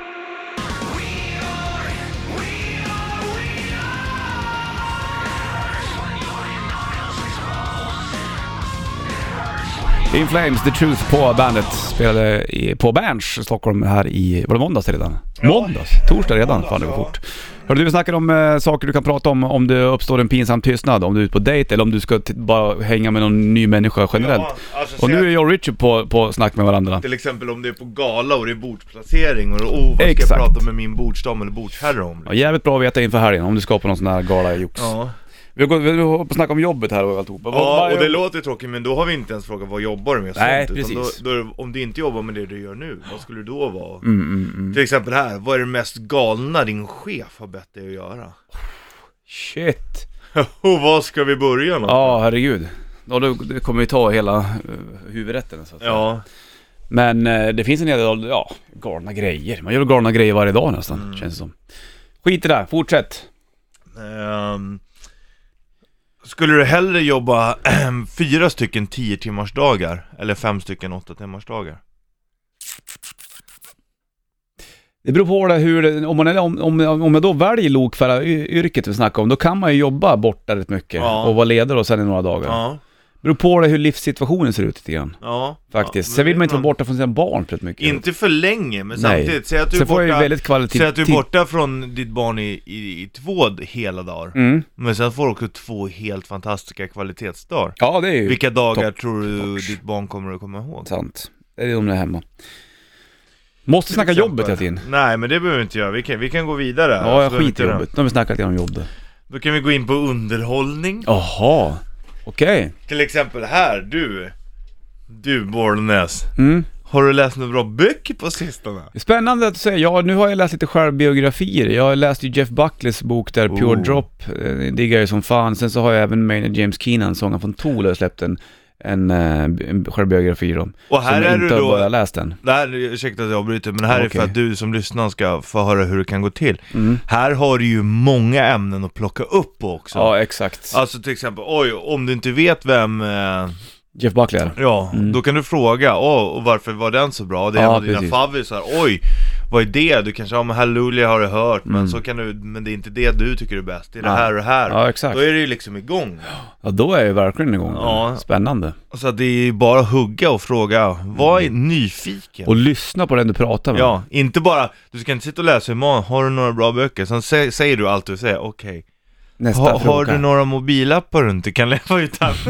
Speaker 1: In Flames, The Truth på bandet. Spelade i, på Berns i Stockholm här i, var det måndags redan? Måndags? Torsdag redan? Fan det går fort. Hörru du, vi snackade om eh, saker du kan prata om om det uppstår en pinsam tystnad, om du är ute på dejt eller om du ska t- bara hänga med någon ny människa generellt.
Speaker 2: Ja, alltså,
Speaker 1: Och
Speaker 2: säg
Speaker 1: nu är
Speaker 2: att-
Speaker 1: jag och Richard på, på snack med varandra.
Speaker 2: Till exempel om det är på gala och det är bordsplacering och oh, vad ska
Speaker 1: Exakt.
Speaker 2: jag prata med min bordsdam eller bordsherre om?
Speaker 1: Ja, jävligt bra att veta inför helgen om du ska på någon sån här gala i jox.
Speaker 2: Ja,
Speaker 1: Vi har gått- vi har på snack om jobbet här och alltihopa. Vad-
Speaker 2: ja
Speaker 1: vad-
Speaker 2: och det låter ju tråkigt men då har vi inte ens frågat vad jobbar du med? och sånt,
Speaker 1: Nej,
Speaker 2: utan
Speaker 1: precis.
Speaker 2: Då, då, är det- om du inte jobbar med det du gör nu, vad skulle du då vara?
Speaker 1: Mm, mm, mm.
Speaker 2: Till exempel här, vad är det mest galna din chef har bett dig att göra?
Speaker 1: Shit.
Speaker 2: Och var ska vi börja någonstans?
Speaker 1: Ja, herregud. Ja, då, det kommer ju ta hela eh, huvudrätten så att säga.
Speaker 2: Ja,
Speaker 1: Men eh, det finns en hel del, ja, galna grejer. Man gör galna grejer varje dag nästan,
Speaker 2: Mm.
Speaker 1: känns det som. Skit i det, fortsätt.
Speaker 2: ehm, skulle du hellre jobba ehm, fyra stycken 10 timmars dagar eller fem stycken 8 timmars dagar?
Speaker 1: Det beror på det hur, det- om, man, är- om, om, om jag då väljer lokföraryrket vi snackar om, då kan man ju jobba borta rätt mycket
Speaker 2: Ja.
Speaker 1: och vara ledare och sen i några dagar.
Speaker 2: Ja,
Speaker 1: beror på det hur livssituationen ser ut lite grann,
Speaker 2: ja.
Speaker 1: faktiskt.
Speaker 2: Ja,
Speaker 1: sen
Speaker 2: men
Speaker 1: vill man
Speaker 2: vet
Speaker 1: inte vara borta från sina barn för rätt mycket.
Speaker 2: Inte för länge, men
Speaker 1: Nej.
Speaker 2: samtidigt, säg att du är
Speaker 1: sen får jag ju
Speaker 2: borta,
Speaker 1: väldigt kvalitativt...
Speaker 2: säg att du är borta från ditt barn i, i, i två d- hela dagar.
Speaker 1: Mm.
Speaker 2: Men sen får du också två helt fantastiska kvalitetsdagar.
Speaker 1: Ja, det är ju...
Speaker 2: Vilka dagar
Speaker 1: Topp-
Speaker 2: tror du
Speaker 1: tops.
Speaker 2: ditt barn kommer att komma ihåg?
Speaker 1: Sant. Det är om det är hemma. Måste snacka
Speaker 2: Till
Speaker 1: jobbet
Speaker 2: exempel.
Speaker 1: hela tiden.
Speaker 2: Nej, men det behöver vi inte göra. Vi kan, vi kan gå vidare.
Speaker 1: Ja, jag
Speaker 2: Så behöver vi
Speaker 1: skiter
Speaker 2: inte
Speaker 1: i
Speaker 2: göra.
Speaker 1: jobbet. Nu har vi snackat igenom jobbet.
Speaker 2: Då kan vi gå in på underhållning.
Speaker 1: Jaha, okej.
Speaker 2: Till exempel här, du. Du Bollnäs.
Speaker 1: Mm.
Speaker 2: Har du läst några bra böcker på sistone?
Speaker 1: Spännande att du säger, ja nu har jag läst lite självbiografier. Jag läste ju Jeff Buckleys bok där, Pure
Speaker 2: Oh.
Speaker 1: Drop, eh, diggar jag ju som fan. Sen så har jag även Maynard James Keenan, sångaren från Tool, har släppt en, en, eh, en självbiografi då.
Speaker 2: Och här
Speaker 1: som
Speaker 2: är
Speaker 1: jag inte
Speaker 2: du
Speaker 1: har
Speaker 2: då...
Speaker 1: börjat läst än.
Speaker 2: Det här, ursäkta att jag avbryter, men det här är
Speaker 1: Okej.
Speaker 2: för att du som lyssnar ska få höra hur det kan gå till.
Speaker 1: Mm.
Speaker 2: Här har du ju många ämnen att plocka upp på också.
Speaker 1: Ja, exakt.
Speaker 2: Alltså till exempel, oj, om du inte vet vem, eh,
Speaker 1: Jeff Buckley är.
Speaker 2: ja,
Speaker 1: Mm.
Speaker 2: då kan du fråga, åh, och varför var den så bra? Det är
Speaker 1: Ja,
Speaker 2: en av dina
Speaker 1: precis.
Speaker 2: favvisar, oj, vad är det? Du kanske, ja men Halleluja har du hört,
Speaker 1: Mm.
Speaker 2: men så kan du, men det är inte det du tycker är bäst, det är det
Speaker 1: Nej.
Speaker 2: här och det här.
Speaker 1: Ja, exakt.
Speaker 2: Då är det ju liksom igång.
Speaker 1: Ja, då är jag ju verkligen igång.
Speaker 2: Ja.
Speaker 1: Spännande.
Speaker 2: Så att det är ju bara att hugga och fråga, var är nyfiken?
Speaker 1: Mm. Och lyssna på den du pratar med.
Speaker 2: Ja, inte bara, du ska inte sitta och läsa imorgon, har du några bra böcker? Sen sä- säger du allt du säger, okej.
Speaker 1: Nästa
Speaker 2: Ha,
Speaker 1: fråga.
Speaker 2: har du några mobilappar du inte kan leva utan?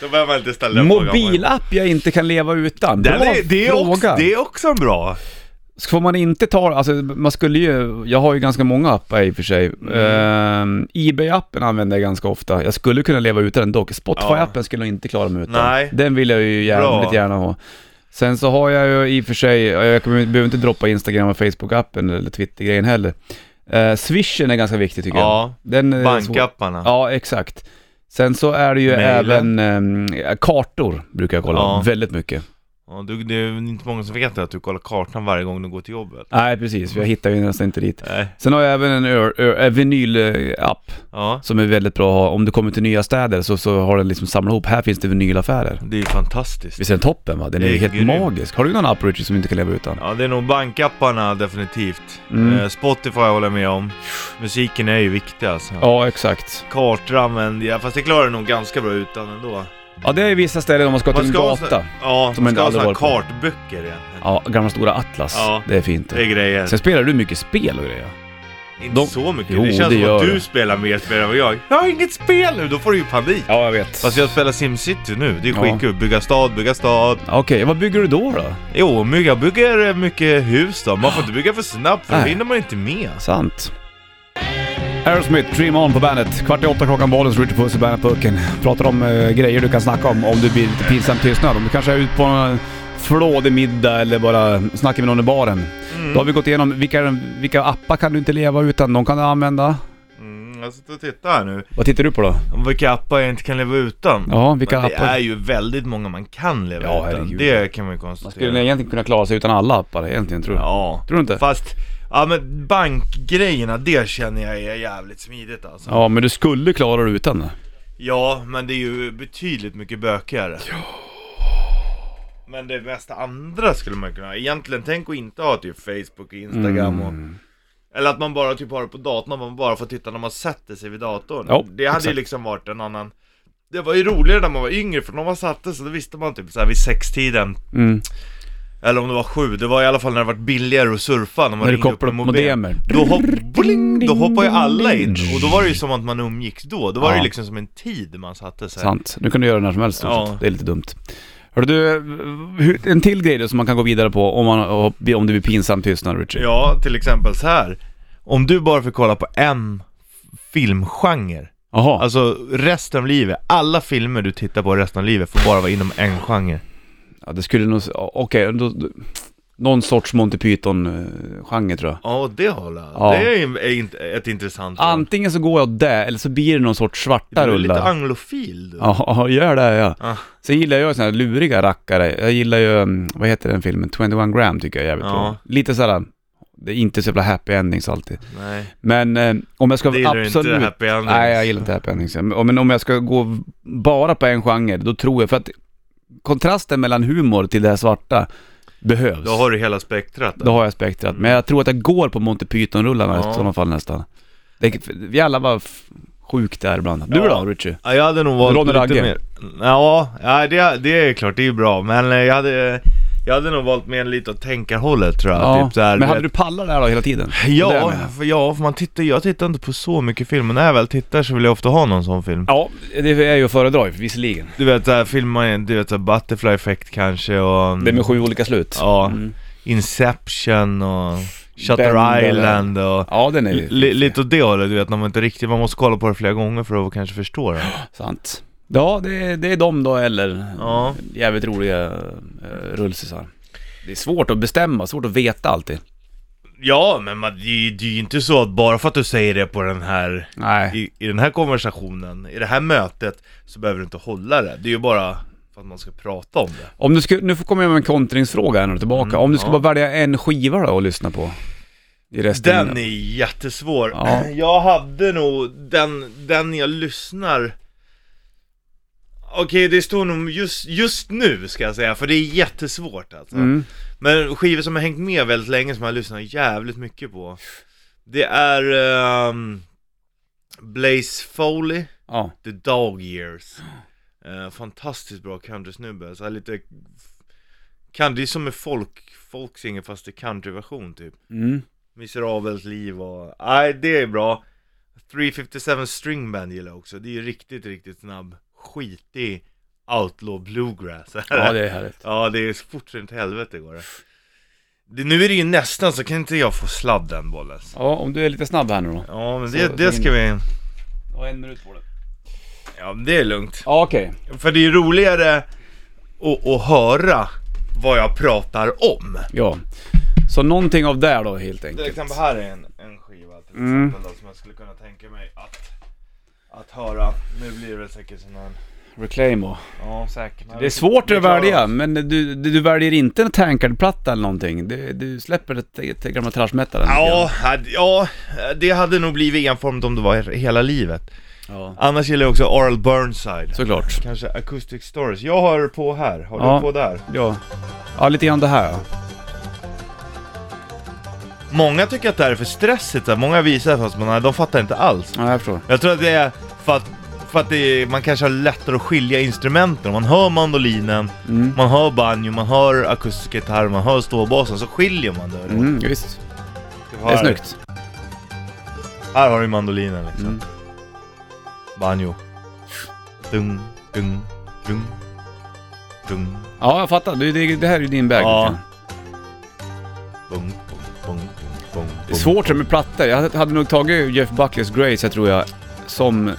Speaker 2: Då behöver man inte ställa frågan.
Speaker 1: Mobilapp jag inte kan leva utan.
Speaker 2: Det
Speaker 1: Bra
Speaker 2: är, det, är
Speaker 1: fråga.
Speaker 2: också, det är också en bra.
Speaker 1: Så Får man inte ta, alltså man skulle ju, jag har ju ganska många appar i och för sig.
Speaker 2: Mm.
Speaker 1: Ehm, Ebay-appen använder jag ganska ofta. Jag skulle kunna leva utan den dock. Spotify-appen skulle jag inte klara mig utan.
Speaker 2: Nej.
Speaker 1: Den vill jag ju jävligt
Speaker 2: Bra.
Speaker 1: gärna ha. Sen så har jag ju i och för sig, jag kommer- behöver inte droppa Instagram och Facebook-appen eller Twitter-grejen heller. Uh, Swishen är ganska viktig tycker
Speaker 2: Ja,
Speaker 1: jag. Den är svår-
Speaker 2: bankapparna.
Speaker 1: Ja, exakt. Sen så är det ju även
Speaker 2: Mailen.
Speaker 1: ehm, kartor, brukar jag kolla
Speaker 2: Ja.
Speaker 1: väldigt mycket.
Speaker 2: Ja, du, det är inte många som vet att du kollar kartan varje gång du går till jobbet.
Speaker 1: Nej, precis. för Jag hittar ju nästan inte dit.
Speaker 2: Nej.
Speaker 1: Sen har jag även en ö- ö- ö- vinylapp
Speaker 2: Ja,
Speaker 1: som är väldigt bra att ha. Om du kommer till nya städer så, så har den liksom samlat ihop. Här finns det vinylaffärer.
Speaker 2: det är ju fantastiskt.
Speaker 1: Visst är den toppen va? Den är
Speaker 2: Det är
Speaker 1: ju helt
Speaker 2: grymt.
Speaker 1: magisk. Har du någon app Richard som inte kan leva utan?
Speaker 2: Ja, det är nog bankapparna definitivt.
Speaker 1: Mm.
Speaker 2: Eh, Spotify håller jag med om. Musiken är ju viktig alltså.
Speaker 1: Ja, exakt.
Speaker 2: Kartor använder jag, fast det klarar jag nog ganska bra utan ändå.
Speaker 1: Ja, det är vissa ställen om man ska till en
Speaker 2: ha
Speaker 1: gata.
Speaker 2: såna- Ja,
Speaker 1: Som
Speaker 2: man
Speaker 1: inte
Speaker 2: ska ha
Speaker 1: aldrig
Speaker 2: såna
Speaker 1: varit på.
Speaker 2: kartböcker egentligen.
Speaker 1: Ja, gamla stora Atlas.
Speaker 2: Ja.
Speaker 1: Det är fint.
Speaker 2: Det är grejer.
Speaker 1: Sen spelar du mycket spel och grejer.
Speaker 2: inte
Speaker 1: de-
Speaker 2: så mycket.
Speaker 1: Jo,
Speaker 2: det
Speaker 1: det
Speaker 2: känns som
Speaker 1: gör
Speaker 2: att du
Speaker 1: det.
Speaker 2: spelar mer spel än vad jag. Jag har inget spel nu, då får du ju panik.
Speaker 1: Ja, jag vet.
Speaker 2: Fast jag spelar SimCity nu, det är
Speaker 1: Ja.
Speaker 2: skitkul. Bygga stad, bygga stad.
Speaker 1: Okej, vad bygger du då då?
Speaker 2: Jo, men jag bygger mycket hus då. Man får inte bygga för snabbt för då
Speaker 1: Nej.
Speaker 2: hinner man inte med.
Speaker 1: Sant. Aerosmith, Dream On på bandet. Kvart i åtta klockan, Bollens Richard Puss i Bandet-pucken. Pratar om eh, grejer du kan snacka om om du blir lite pinsamt tystnad. Om du kanske är ute på en eh, flådig middag eller bara snackar med någon i baren. Då har vi gått igenom vilka, vilka appar kan du inte leva utan, de kan du använda.
Speaker 2: Mm, jag sitter och tittar här nu.
Speaker 1: Vad tittar du på då?
Speaker 2: Vilka appar jag inte kan leva utan.
Speaker 1: Ja, vilka
Speaker 2: Men det
Speaker 1: appar?
Speaker 2: är ju väldigt många man kan leva
Speaker 1: Ja,
Speaker 2: utan.
Speaker 1: herregud.
Speaker 2: Det kan man ju
Speaker 1: Man skulle
Speaker 2: konstatera.
Speaker 1: egentligen kunna klara sig utan alla appar egentligen, tror jag.
Speaker 2: Ja.
Speaker 1: Tror du inte?
Speaker 2: Fast, ja men bankgrejerna, det känner jag är jävligt smidigt alltså.
Speaker 1: Ja, men du skulle klara dig utan det.
Speaker 2: Ja, men det är ju betydligt mycket bökigare. Ja. Men det mesta andra skulle man kunna ha. Egentligen, tänk att inte ha typ Facebook och Instagram
Speaker 1: Mm.
Speaker 2: och... Eller att man bara typ har det på datorn och man bara får titta när man sätter sig vid datorn.
Speaker 1: Ja,
Speaker 2: det hade ju
Speaker 1: exakt.
Speaker 2: liksom varit en annan... Det var ju roligare när man var yngre för när man satte sig då visste man typ såhär vid sextiden
Speaker 1: Mm.
Speaker 2: Eller om det var sju, det var i alla fall när det var billigare att surfa när man
Speaker 1: När du
Speaker 2: ringde upp
Speaker 1: kopplar
Speaker 2: med
Speaker 1: upp
Speaker 2: mobil.
Speaker 1: modemer.
Speaker 2: Då, hopp, bling, då hoppade ju alla in och då var det ju som att man umgicks då. Då var det
Speaker 1: Ja.
Speaker 2: ju liksom som en tid man satte sig.
Speaker 1: Sant. Nu kan du göra det när som helst.
Speaker 2: Ja.
Speaker 1: Ja. Det är lite dumt. Hörru du, hur- en till grej då som man kan gå vidare på om, man, om det blir pinsam tystnad Richie.
Speaker 2: Ja, till exempel så här. Om du bara fick kolla på en filmgenre,
Speaker 1: Jaha.
Speaker 2: alltså resten av livet, alla filmer du tittar på resten av livet får bara vara inom en genre.
Speaker 1: Ja, det skulle nog... ja, Okej, då- då- någon sorts Monty Python-genre tror jag.
Speaker 2: Ja, det håller.
Speaker 1: Ja.
Speaker 2: Det är ju- är inte- ett intressant val.
Speaker 1: Antingen så går jag där, eller så blir det någon sorts svarta
Speaker 2: Du är lite
Speaker 1: rullar.
Speaker 2: anglofil du.
Speaker 1: Ja, ja, gör det ja.
Speaker 2: Ah.
Speaker 1: Sen gillar jag såna här luriga rackare. Jag gillar ju, mm, vad heter den filmen? 21 gram tycker jag är jävligt
Speaker 2: Ja.
Speaker 1: bra. Lite sådär, det är inte så jävla happy endings alltid.
Speaker 2: Nej,
Speaker 1: Men eh, om jag ska
Speaker 2: det gillar
Speaker 1: absolut...
Speaker 2: du inte happy endings.
Speaker 1: Nej, jag gillar inte happy endings. Men men om jag ska gå v- bara på en genre, då tror jag, för att kontrasten mellan humor till det här svarta behövs.
Speaker 2: Då har du hela spektrat. där.
Speaker 1: Då har jag spektrat. Men jag tror att jag går på Monty Python-rullarna
Speaker 2: Ja.
Speaker 1: i sådana fall nästan. Det, vi alla var f- sjukt där ibland. Du
Speaker 2: Ja.
Speaker 1: då Richie?
Speaker 2: Ja, jag hade nog varit
Speaker 1: Ronny
Speaker 2: lite
Speaker 1: Ragge.
Speaker 2: mer... Ja, ja det, det är klart, det är ju bra. Men eh, jag hade, jag hade nog valt mer lite åt tänkarhållet tror jag.
Speaker 1: Ja.
Speaker 2: Typ så här,
Speaker 1: men hade du pallat det här då hela tiden? Det är det jag
Speaker 2: Ja,
Speaker 1: menar.
Speaker 2: för, ja för man tittar, jag tittar inte på så mycket film, men när jag väl tittar så vill jag ofta ha någon sån film.
Speaker 1: Ja, det är ju att föredra ju, visserligen.
Speaker 2: Du vet såhär filmer, du vet såhär Butterfly Effect kanske och... mm,
Speaker 1: Det är med sju olika slut.
Speaker 2: Ja,
Speaker 1: Mm.
Speaker 2: Inception och Shutter
Speaker 1: Bender.
Speaker 2: Island och...
Speaker 1: Ja, den är ju
Speaker 2: Li, lite åt det hållet, du vet när man inte riktigt, man måste kolla på det flera gånger för att kanske förstå det.
Speaker 1: sant. Ja, det är, det är de då eller
Speaker 2: Ja.
Speaker 1: jävligt roliga uh, rullsisar. Det är svårt att bestämma, svårt att veta alltid.
Speaker 2: Ja, men man, det, är ju- det är ju inte så att bara för att du säger det på den här
Speaker 1: Nej.
Speaker 2: i, i den här konversationen, i det här mötet, så behöver du inte hålla det. Det är ju bara för att man ska prata om det.
Speaker 1: Om du skulle, nu får komma jag med en kontringsfråga här när du är tillbaka.
Speaker 2: Mm,
Speaker 1: Om du skulle
Speaker 2: ja.
Speaker 1: bara välja en skiva då att lyssna på? I resten
Speaker 2: Den är jättesvår.
Speaker 1: Ja.
Speaker 2: Jag hade nog den, den jag lyssnar Okej, det står nog just, just nu ska jag säga, för det är jättesvårt alltså.
Speaker 1: Mm.
Speaker 2: Men skivor som har hängt med väldigt länge, som jag lyssnar jävligt mycket på Det är ehm, Blaze Foley,
Speaker 1: Ja.
Speaker 2: The Dog Years Eh, Fantastiskt bra countrysnubbe, så här lite kan, Det är som en folk, folksinger fast i countryversion typ
Speaker 1: Mm.
Speaker 2: Miserabelt liv och... Nej, det är bra 357 String Band gillar jag också, det är ju riktigt, riktigt snabb Skitig outlaw bluegrass
Speaker 1: ja, det är härligt.
Speaker 2: Ja, det är fort så in till helvete går det. det Nu är det ju nästan så kan inte jag få sladd den bollen
Speaker 1: Ja, om du är lite snabb här nu då.
Speaker 2: Ja, men
Speaker 1: Så,
Speaker 2: det, det ska vi...
Speaker 1: Ja, en minut på det.
Speaker 2: Ja, men det är lugnt
Speaker 1: Ja, okej.
Speaker 2: För det är ju roligare att, att höra vad jag pratar om
Speaker 1: Ja. Så någonting av det då helt
Speaker 2: Till
Speaker 1: enkelt.
Speaker 2: exempel här är en, en skiva till exempel
Speaker 1: Mm.
Speaker 2: då, som jag skulle kunna tänka mig att, att höra. Nu blir det väl säkert sån här...
Speaker 1: Reclaimo.
Speaker 2: Ja, säkert.
Speaker 1: Det är svårt att välja,
Speaker 2: klarar oss.
Speaker 1: men du, du, du väljer inte en tankardplatta eller någonting. Du, du släpper det till, till gamla trash metalen.
Speaker 2: Ja, hade- ja, det hade nog blivit enformigt om det var hela livet.
Speaker 1: ja.
Speaker 2: Annars gillar jag också Arl Burnside.
Speaker 1: Såklart.
Speaker 2: Kanske Acoustic Stories. Jag har på här, har
Speaker 1: Ja.
Speaker 2: du på där?
Speaker 1: Ja. Ja, lite grann det här ja.
Speaker 2: Många tycker att det här är för stressigt, så här. många visar fast man, nej, de fattar inte alls.
Speaker 1: Ja, jag förstår.
Speaker 2: Jag tror att det är för att, för att det är, man kanske har lättare att skilja instrumenten. Man hör mandolinen,
Speaker 1: Mm.
Speaker 2: man hör banjo, man hör akustisk gitarr, man hör ståbasen, så skiljer man det.
Speaker 1: Mm, visst. Det
Speaker 2: Här-
Speaker 1: är snyggt.
Speaker 2: Här har du mandolinen liksom.
Speaker 1: Mm.
Speaker 2: Banjo. Dung, dung, dung, dung.
Speaker 1: Ja, jag fattar. Du, det, det här är ju din väg. liksom.
Speaker 2: Ja.
Speaker 1: lite grann.
Speaker 2: Bung, bung, bung, bung,
Speaker 1: Det är svårt med plattor. Jag hade- hade nog tagit Jeff Buckleys Grace, jag tror jag, som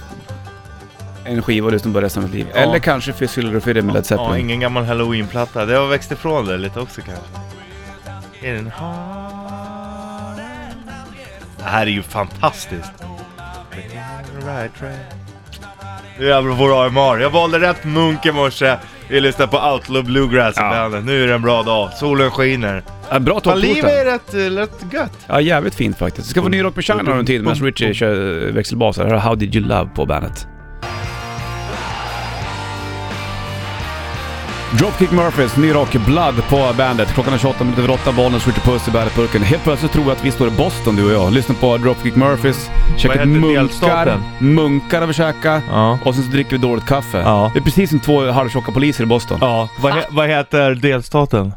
Speaker 1: en skiva att lyssna på resten av mitt liv.
Speaker 2: Ja.
Speaker 1: Eller kanske Physical Refiddle med Led
Speaker 2: Ja,
Speaker 1: Zeppelin.
Speaker 2: ingen gammal halloweenplatta. Det har växt ifrån det lite också kanske. Är den Det här är ju fantastiskt. Nu är vår AMR. Jag valde rätt munk i morse. Vi lyssnar på Outlaw Bluegrass
Speaker 1: Ja.
Speaker 2: bandet. Nu är det en bra dag. Solen skiner.
Speaker 1: Ja, bra
Speaker 2: Fan, livet
Speaker 1: topplåtar.
Speaker 2: är rätt, eh, rätt gött.
Speaker 1: Ja, jävligt fint faktiskt. Ska få ny rock med China om en tid medan Richie kör eh, växelbas här. Här har How Did You Love på bandet. Dropkick Murphys, ny rock, Blood på bandet. Klockan är 28 minuter över 8, bollen skjuter puss i bandetburken. Helt plötsligt tror jag att vi står i Boston du och jag. Lyssnar på Dropkick Murphys, käkar
Speaker 2: heter
Speaker 1: munkar.
Speaker 2: delstaten?
Speaker 1: Munkar har vi käkat.
Speaker 2: Ja.
Speaker 1: Och sen så dricker vi dåligt kaffe.
Speaker 2: Ja.
Speaker 1: Det är precis som två halvtjocka poliser i Boston.
Speaker 2: Ja. Vad, he- vad heter delstaten?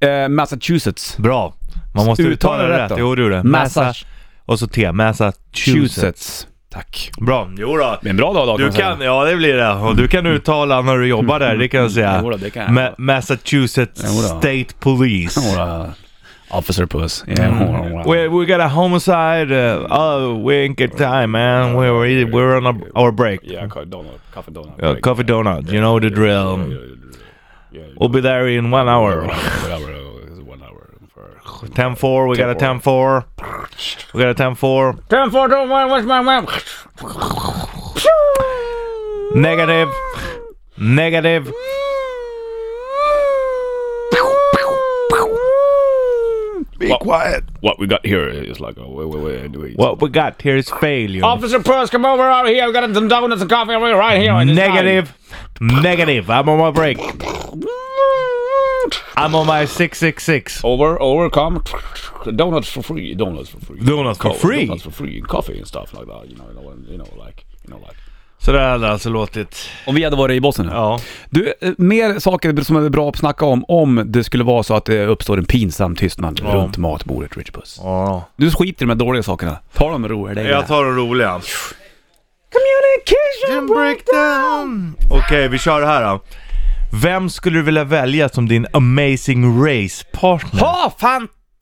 Speaker 1: eh, Massachusetts.
Speaker 2: Bra. Man måste uttala det rätt.
Speaker 1: då.
Speaker 2: Jo, du gjorde det. Massa. Och så T. Massachusetts.
Speaker 1: Massachusetts. Tack.
Speaker 2: Bra. Jo då.
Speaker 1: Det är en bra dag idag
Speaker 2: Du kan, ja det blir det. Och du kan uttala när du jobbar där, det kan jag
Speaker 1: Jo
Speaker 2: säga.
Speaker 1: då, det kan jag.
Speaker 2: Ma- Massachusetts
Speaker 1: Jo då.
Speaker 2: State Police.
Speaker 1: Jo
Speaker 2: Mm.
Speaker 1: då. Officer Puss. Yeah.
Speaker 2: We, we got a homicide. Uh, oh, we ain't got time, man. We're, we're- we're on a, our break.
Speaker 1: Yeah, donut, coffee donut. uh,
Speaker 2: Uh, coffee donut. You know the drill. We'll be there in one hour.
Speaker 1: One hour.
Speaker 2: 10-4. We got a 10-4. We got a 10-4.
Speaker 1: 10 4
Speaker 2: Negative. Negative. Be quiet.
Speaker 1: What we got here is like a wait, wait, wait, wait.
Speaker 2: What we got here is failure.
Speaker 1: Officer Puss, come over out here. We got some donuts and coffee over here, right here. on this
Speaker 2: Negative. Negative. I'm on my break. I'm on my 666.
Speaker 1: side. Over, over, come. Donuts for free. Donuts for free.
Speaker 2: Donuts for
Speaker 1: Co-
Speaker 2: free?
Speaker 1: Donuts for free. and Coffee and stuff like that. You know, you know, and, you know like, you know, like.
Speaker 2: Så där hade det alltså låtit.
Speaker 1: Om vi hade varit i Bosnien nu.
Speaker 2: Ja.
Speaker 1: Du, eh, mer saker som är bra att snacka om om det skulle vara så att det uppstår en pinsam tystnad
Speaker 2: Ja.
Speaker 1: runt matbordet, Rich Puss.
Speaker 2: ja.
Speaker 1: Du skiter i de här dåliga sakerna. Ta dem med ro, är det
Speaker 2: Jag tar de roliga.
Speaker 1: Communication
Speaker 2: breakdown. Okej, vi kör det här då. Vem skulle du vilja välja som din amazing race partner?
Speaker 1: Ha!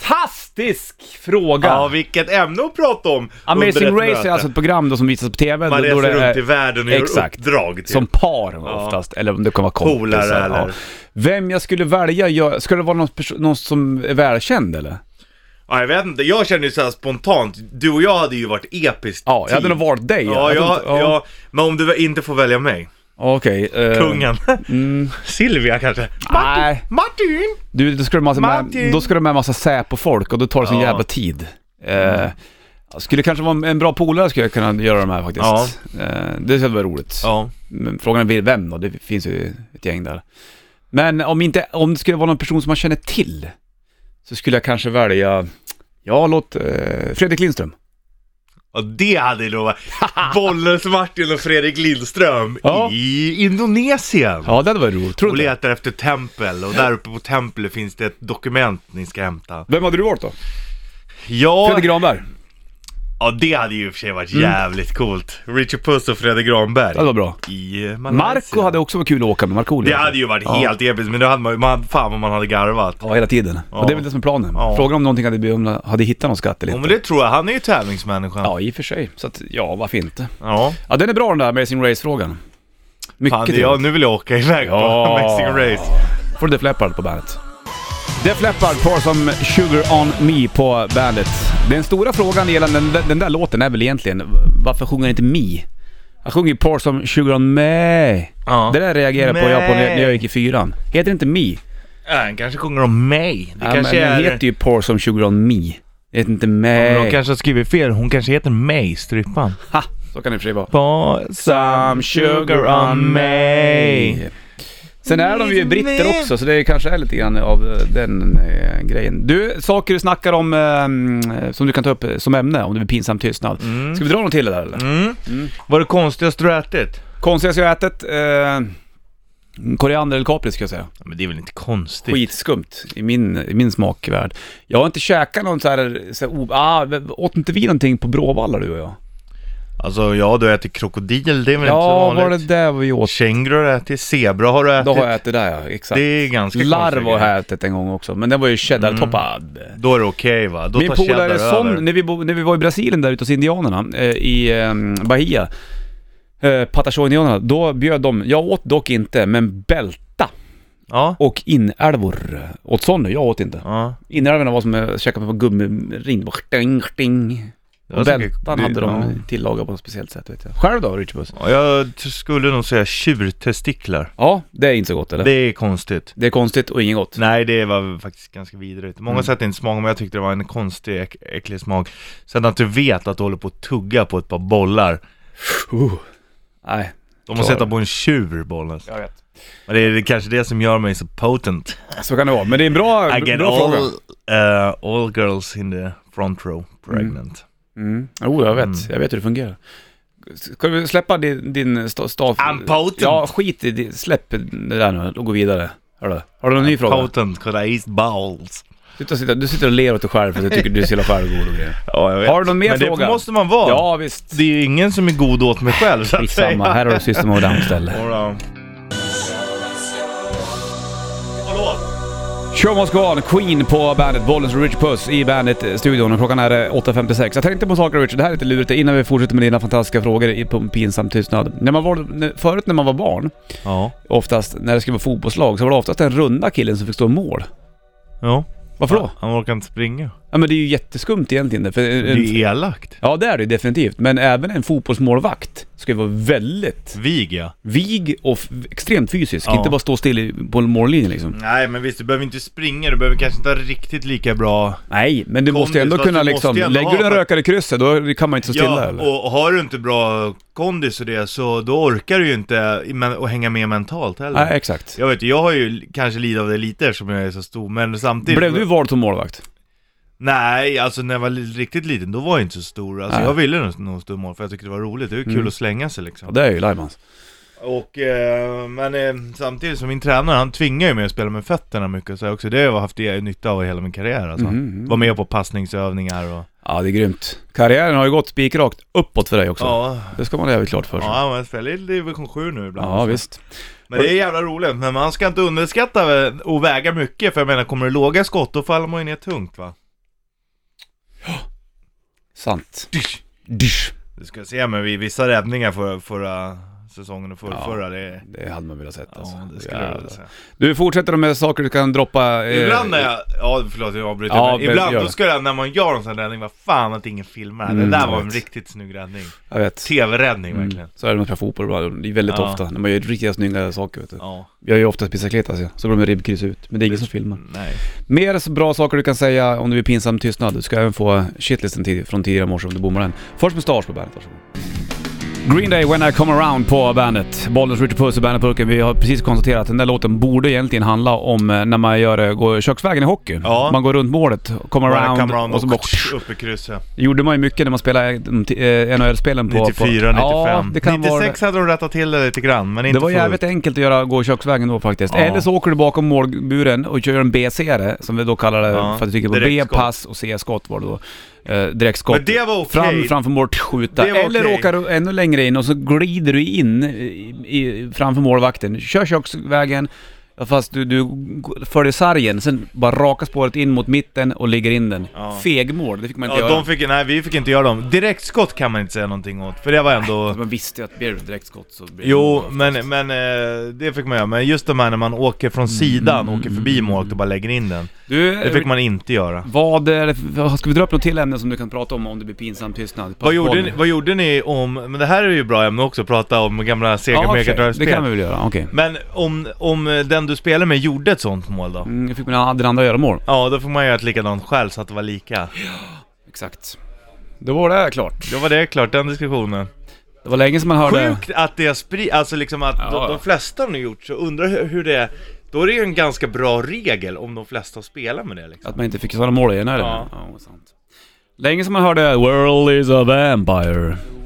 Speaker 1: Fantastisk fråga!
Speaker 2: Ja, vilket ämne att prata om under ett
Speaker 1: Amazing Race
Speaker 2: möte.
Speaker 1: är alltså ett program då som visas på TV.
Speaker 2: Man
Speaker 1: då, då
Speaker 2: reser
Speaker 1: det är-
Speaker 2: runt i världen och
Speaker 1: Exakt.
Speaker 2: gör uppdrag typ. till.
Speaker 1: Som par oftast, eller om det kan vara kompisar.
Speaker 2: Polare eller-
Speaker 1: Vem jag skulle välja, jag, skulle det vara någon, perso- någon som är välkänd eller?
Speaker 2: Ja, jag vet inte, jag känner ju såhär spontant, du och jag hade ju varit episkt
Speaker 1: Ja, jag hade nog valt dig.
Speaker 2: Typ. Ja,
Speaker 1: Jag hade
Speaker 2: ja,
Speaker 1: inte-
Speaker 2: ja, men om du inte får välja mig.
Speaker 1: Okej. eh,
Speaker 2: Kungen. mm. Silvia kanske.
Speaker 1: Nej.
Speaker 2: Martin!
Speaker 1: Du, då ska du massa
Speaker 2: Martin!
Speaker 1: med, då ska du med massa Säpo-folk och då tar det sån
Speaker 2: Ja. Mm.
Speaker 1: jävla tid. Eh, skulle kanske vara en- en bra polare skulle jag kunna göra de här faktiskt.
Speaker 2: Ja.
Speaker 1: Eh, det skulle vara roligt.
Speaker 2: Ja.
Speaker 1: Men frågan är vem då? Det finns ju ett gäng där. Men om, inte, om det skulle vara någon person som man känner till, så skulle jag kanske välja, ja låt, eh, Fredrik Lindström.
Speaker 2: Och det hade ju då varit Bollnäs-Martin och Fredrik Lindström
Speaker 1: Ja.
Speaker 2: i Indonesien.
Speaker 1: Ja, det hade varit roligt. Tror
Speaker 2: Och
Speaker 1: du det?
Speaker 2: letar efter tempel och där uppe på templet finns det ett dokument ni ska hämta.
Speaker 1: Vem hade du varit då?
Speaker 2: Ja,
Speaker 1: Fredrik Mm. Granberg.
Speaker 2: ja det hade ju i och för sig varit jävligt coolt. Richard Puss och Fredrik Granberg.
Speaker 1: Det hade varit bra.
Speaker 2: I eh, Malaysia.
Speaker 1: Alltså, Marco hade också varit kul att åka med, Markoolio.
Speaker 2: Det hade ju varit helt episkt, men då hade man ju, man, fan vad man hade garvat.
Speaker 1: Ja, hela tiden. Och det är väl det som är planen.
Speaker 2: Ja.
Speaker 1: Frågan om någonting hade, blivit- om jag hade hittat någon skatt eller
Speaker 2: Ja,
Speaker 1: inte.
Speaker 2: men det tror jag, han är ju tävlingsmänniskan.
Speaker 1: Ja, i och för sig. Så att, ja, varför inte?
Speaker 2: Ja.
Speaker 1: Ja, den är bra den där Amazing Race-frågan. Mycket
Speaker 2: Fan,
Speaker 1: trevligt.
Speaker 2: ja, nu vill jag åka iväg på
Speaker 1: Ja.
Speaker 2: Amazing Race.
Speaker 1: får du Def Leppard på bandet. Def Leppard, Pour Some Sugar On Me på bandet. Den stora frågan gällande den, den där låten är väl egentligen, varför sjunger han inte Me? Han sjunger ju Pour Some Sugar On Me.
Speaker 2: Ja.
Speaker 1: Det där reagerade jag på jag på när när jag
Speaker 2: Me.
Speaker 1: gick i fyran. Heter det inte Me?
Speaker 2: Ja, han kanske sjunger om mig. Det
Speaker 1: Ja,
Speaker 2: kanske
Speaker 1: men
Speaker 2: är...
Speaker 1: den heter ju Pour Some Sugar On Me. Det heter inte
Speaker 2: Men
Speaker 1: Me.
Speaker 2: de kanske har skrivit fel, hon kanske heter mig, strippan.
Speaker 1: Ha! Så kan det i och för sig vara.
Speaker 2: På some sugar on me.
Speaker 1: Sen är de ju britter också, så det kanske är lite grann av eh, den eh, grejen. Du, saker du snackar om eh, som du kan ta upp eh, som ämne om det blir pinsam tystnad. Ska vi dra något till det där eller?
Speaker 2: Mm. Vad är det konstigaste du har ätit?
Speaker 1: Konstigaste jag har ätit? Eh, koriander eller kapris ska jag säga.
Speaker 2: Ja, Men det är väl inte konstigt?
Speaker 1: Skitskumt i min, i min smakvärld. Jag har inte käkat någon så här, så här o- ah, åt inte vi någonting på Bråvalla du och jag?
Speaker 2: Alltså ja, du äter krokodil, det är väl
Speaker 1: Ja,
Speaker 2: inte så
Speaker 1: var det
Speaker 2: vanligt?
Speaker 1: där vi åt?
Speaker 2: Känguru har du ätit, zebra har du ätit.
Speaker 1: Då har jag ätit där ja, exakt.
Speaker 2: Det är ganska
Speaker 1: Larv
Speaker 2: konstiga
Speaker 1: har
Speaker 2: grejer.
Speaker 1: jag ätit en gång också, men den var ju cheddartoppad.
Speaker 2: Då är det okej va? Då
Speaker 1: Min
Speaker 2: tar
Speaker 1: polare
Speaker 2: cheddar över.
Speaker 1: Son, när vi, bo, när vi var i Brasilien där ute hos indianerna, eh, i eh, Bahia, eh, Patagonia-indianerna, då bjöd de, jag åt dock inte, men bälta
Speaker 2: Ja.
Speaker 1: och inälvor. Åt Sonny, jag åt inte.
Speaker 2: ja.
Speaker 1: Inälvorna var som att käka på gummiring, bara sting, sting.
Speaker 2: Det var
Speaker 1: Och
Speaker 2: säkert-
Speaker 1: bältan
Speaker 2: det-
Speaker 1: hade
Speaker 2: ja.
Speaker 1: de tillagat på något speciellt sätt vet jag. Själv då, Richard Puss?
Speaker 2: Ja, Jag t- skulle nog säga tjurtestiklar.
Speaker 1: Ja, det är inte så gott eller?
Speaker 2: Det
Speaker 1: Det,
Speaker 2: är konstigt.
Speaker 1: är konstigt och inget gott.
Speaker 2: Nej, det var faktiskt ganska vidrigt. Många säger att det inte smakar, men jag tyckte det var en konstig, äck, äcklig smak. Sen att du vet att du håller på att tugga på ett par bollar.
Speaker 1: Uh. Nej,
Speaker 2: De har
Speaker 1: Klar.
Speaker 2: sätta på en tjur, bollen.
Speaker 1: jag vet.
Speaker 2: Men det är det kanske det som gör mig så potent.
Speaker 1: Så kan det vara, men det är en bra,
Speaker 2: I get
Speaker 1: bra
Speaker 2: all,
Speaker 1: fråga.
Speaker 2: uh, all girls in the front row pregnant.
Speaker 1: Mm. Jo, jag vet. Jag vet hur det fungerar. Ska vi släppa din, din sta- stav...
Speaker 2: I'm potent.
Speaker 1: Ja, skit i det. Släpp det där nu och gå vidare. Hörru, har du någon ny fråga?
Speaker 2: Potent, kolla East Balls.
Speaker 1: Sitta, sitta, du sitter och ler åt dig själv för att du tycker du är så jävla självgod och grejer.
Speaker 2: Ja, jag vet.
Speaker 1: Har du någon mer
Speaker 2: Men
Speaker 1: fråga?
Speaker 2: det måste man vara.
Speaker 1: Ja visst.
Speaker 2: Det är ju ingen som är god åt mig själv så att säga.
Speaker 1: Skitsamma, här har du System of a Down ställe.
Speaker 2: Alright.
Speaker 1: Show must go on, Queen på bandet, Bollens Rich Puss i bandet-studion och klockan är eh, 8.56. Jag tänkte på en sak Richard, det här är lite lurigt innan vi fortsätter med dina fantastiska frågor i- på pinsam tystnad. När man var, när- förut när man var barn,
Speaker 2: Ja.
Speaker 1: oftast när det skulle vara fotbollslag, så var det oftast den runda killen som fick stå i mål.
Speaker 2: Ja.
Speaker 1: Varför då?
Speaker 2: Han orkar inte springa.
Speaker 1: Ja men det är ju jätteskumt egentligen det, för en,
Speaker 2: Det är ju elakt.
Speaker 1: Ja det är det definitivt, men även en fotbollsmålvakt ska ju vara väldigt
Speaker 2: Vig ja.
Speaker 1: vig och f- extremt fysisk,
Speaker 2: Ja.
Speaker 1: inte bara stå still i- på mållinjen liksom.
Speaker 2: Nej men visst, du behöver inte springa, du behöver kanske inte ha riktigt lika bra...
Speaker 1: Nej, men du
Speaker 2: Kom
Speaker 1: måste ändå
Speaker 2: dit, fast
Speaker 1: kunna
Speaker 2: du måste
Speaker 1: liksom,
Speaker 2: ändå
Speaker 1: lägger
Speaker 2: ha-
Speaker 1: du en rökare i krysset då kan man inte stå stilla
Speaker 2: Ja,
Speaker 1: eller?
Speaker 2: och och har du inte bra kondis och det så då orkar du ju inte i- men- att hänga med mentalt heller.
Speaker 1: Nej exakt.
Speaker 2: Jag vet, jag har ju l- kanske lidit av det lite som jag är så stor, men samtidigt...
Speaker 1: Blev du vald som målvakt?
Speaker 2: Nej, alltså när jag var li- riktigt liten, då var jag inte så stor. Alltså
Speaker 1: Nej.
Speaker 2: jag ville nog- nog stå i mål, för jag tyckte det var roligt. Det var kul
Speaker 1: Mm.
Speaker 2: att slänga sig
Speaker 1: Ja
Speaker 2: liksom.
Speaker 1: det är ju Lajbans.
Speaker 2: Och, eh, men eh, samtidigt som min tränare, han tvingar ju mig att spela med fötterna mycket så jag också. Det har jag haft det- nytta av i hela min karriär alltså.
Speaker 1: Mhm.
Speaker 2: Var med på passningsövningar och...
Speaker 1: Ja det är grymt. Karriären har ju gått spikrakt uppåt för dig också.
Speaker 2: Ja,
Speaker 1: Det ska man ha jävligt klart för sig. Ja,
Speaker 2: ja men jag spelar i division 7 nu ibland. alltså.
Speaker 1: visst.
Speaker 2: Men det är jävla roligt, men man ska inte underskatta eh, och väga mycket, för jag menar kommer det låga skott då faller man ju ner tungt va?
Speaker 1: Sant. Dysch.
Speaker 2: Du ska se, men vi vissa räddningar för, förra säsongen och förra,
Speaker 1: Ja.
Speaker 2: förra det...
Speaker 1: Det hade man velat sett alltså.
Speaker 2: Ja, det skulle jag
Speaker 1: Jävlar.
Speaker 2: vilja säga.
Speaker 1: Du fortsätter med saker du kan droppa... eh,
Speaker 2: Ibland när jag, ja förlåt jag avbryter,
Speaker 1: Ja,
Speaker 2: men
Speaker 1: men
Speaker 2: ibland
Speaker 1: gör
Speaker 2: då
Speaker 1: det.
Speaker 2: ska jag, när man gör en sån här räddning, vad fan att ingen filmar.
Speaker 1: Mm,
Speaker 2: det där
Speaker 1: jag
Speaker 2: var en
Speaker 1: vet.
Speaker 2: riktigt snygg räddning.
Speaker 1: Jag vet.
Speaker 2: TV-räddning
Speaker 1: Mm.
Speaker 2: verkligen.
Speaker 1: Så är det när man spelar fotboll ibland. Det är väldigt
Speaker 2: Ja.
Speaker 1: ofta. När man gör riktigt snygga saker vet du.
Speaker 2: Ja.
Speaker 1: Jag gör ju oftast pizzakletas ja. Så blir de ribbkryss ut. Men det är ingen som filmar.
Speaker 2: Nej.
Speaker 1: Mer så bra saker du kan säga om du är pinsam tystnad. Du ska även få shitlisten tid från tidigare morse om du bommar den. Först mustasch på bandet, varsågod. Green Day When I Come Around på bandet. Bollens Richard Puss i bandetburken. Vi har precis konstaterat att den där låten borde egentligen handla om eh, när man gör, eh, går köksvägen i hockey.
Speaker 2: Ja.
Speaker 1: Man går runt målet, kommer
Speaker 2: Around,
Speaker 1: around,
Speaker 2: Come around
Speaker 1: och så bara...
Speaker 2: upp i krysset.
Speaker 1: Det gjorde man ju mycket när man spelade de t- eh, NHL-spelen på...
Speaker 2: 94, 95.
Speaker 1: på, Ja, det kan vara det.
Speaker 2: 96 hade de rättat till det lite grann, men inte
Speaker 1: Det var
Speaker 2: fullt.
Speaker 1: jävligt enkelt att göra, gå köksvägen då faktiskt.
Speaker 2: Ja.
Speaker 1: Eller så åker du bakom målburen och kör en BC-are, som vi då kallar det
Speaker 2: Ja.
Speaker 1: för att du tycker på B,
Speaker 2: Direktskott.
Speaker 1: pass och C-skott var det då. Eh, direktskott.
Speaker 2: Men det var okej.
Speaker 1: Fram framför målet, skjuta.
Speaker 2: Det var
Speaker 1: Eller
Speaker 2: okej.
Speaker 1: åker du ännu längre in och så glider du in i, i, framför målvakten. Kör köksvägen, fast du, du följer sargen, sen bara raka spåret in mot mitten och ligger in den.
Speaker 2: Ja.
Speaker 1: Fegmål, det fick man inte
Speaker 2: Ja,
Speaker 1: göra.
Speaker 2: de fick, nej vi fick inte göra dem. Direktskott kan man inte säga någonting åt, för det var ändå...
Speaker 1: Man visste ju att blir det direktskott så blir det mål
Speaker 2: Jo,
Speaker 1: oftast.
Speaker 2: men, men eh, det fick man göra. Men just de här när man åker
Speaker 1: Mm.
Speaker 2: från sidan, åker förbi målet och bara lägger in den.
Speaker 1: Du,
Speaker 2: Det fick man inte göra.
Speaker 1: Vad är det, för- ska vi dra upp något till ämne som du kan prata om om det blir pinsam tystnad?
Speaker 2: Vad gjorde, ni, vad gjorde ni om, men det här är ju bra ämne också, att prata om gamla Sega
Speaker 1: Ja,
Speaker 2: Mega
Speaker 1: okej, det kan vi
Speaker 2: Drive-spel.
Speaker 1: väl göra, okej.
Speaker 2: Men om, om eh, den du spelar med gjorde ett sånt mål då?
Speaker 1: Mm, jag fick mina den andra göra mål.
Speaker 2: Ja, då får man göra ett likadant själv så att det var lika.
Speaker 1: Exakt. Då var det klart.
Speaker 2: Då var det klart, den diskussionen.
Speaker 1: Det var länge som man hörde...
Speaker 2: Sjukt att det sprids, alltså liksom att
Speaker 1: Ja, ja.
Speaker 2: de, de flesta har nu gjort så, undrar hur, hur det är. Då är det ju en ganska bra regel om de flesta spelar med det liksom.
Speaker 1: Att man inte fick sådana mål igen eller?
Speaker 2: Ja.
Speaker 1: sant. Länge som man hörde 'World is a vampire'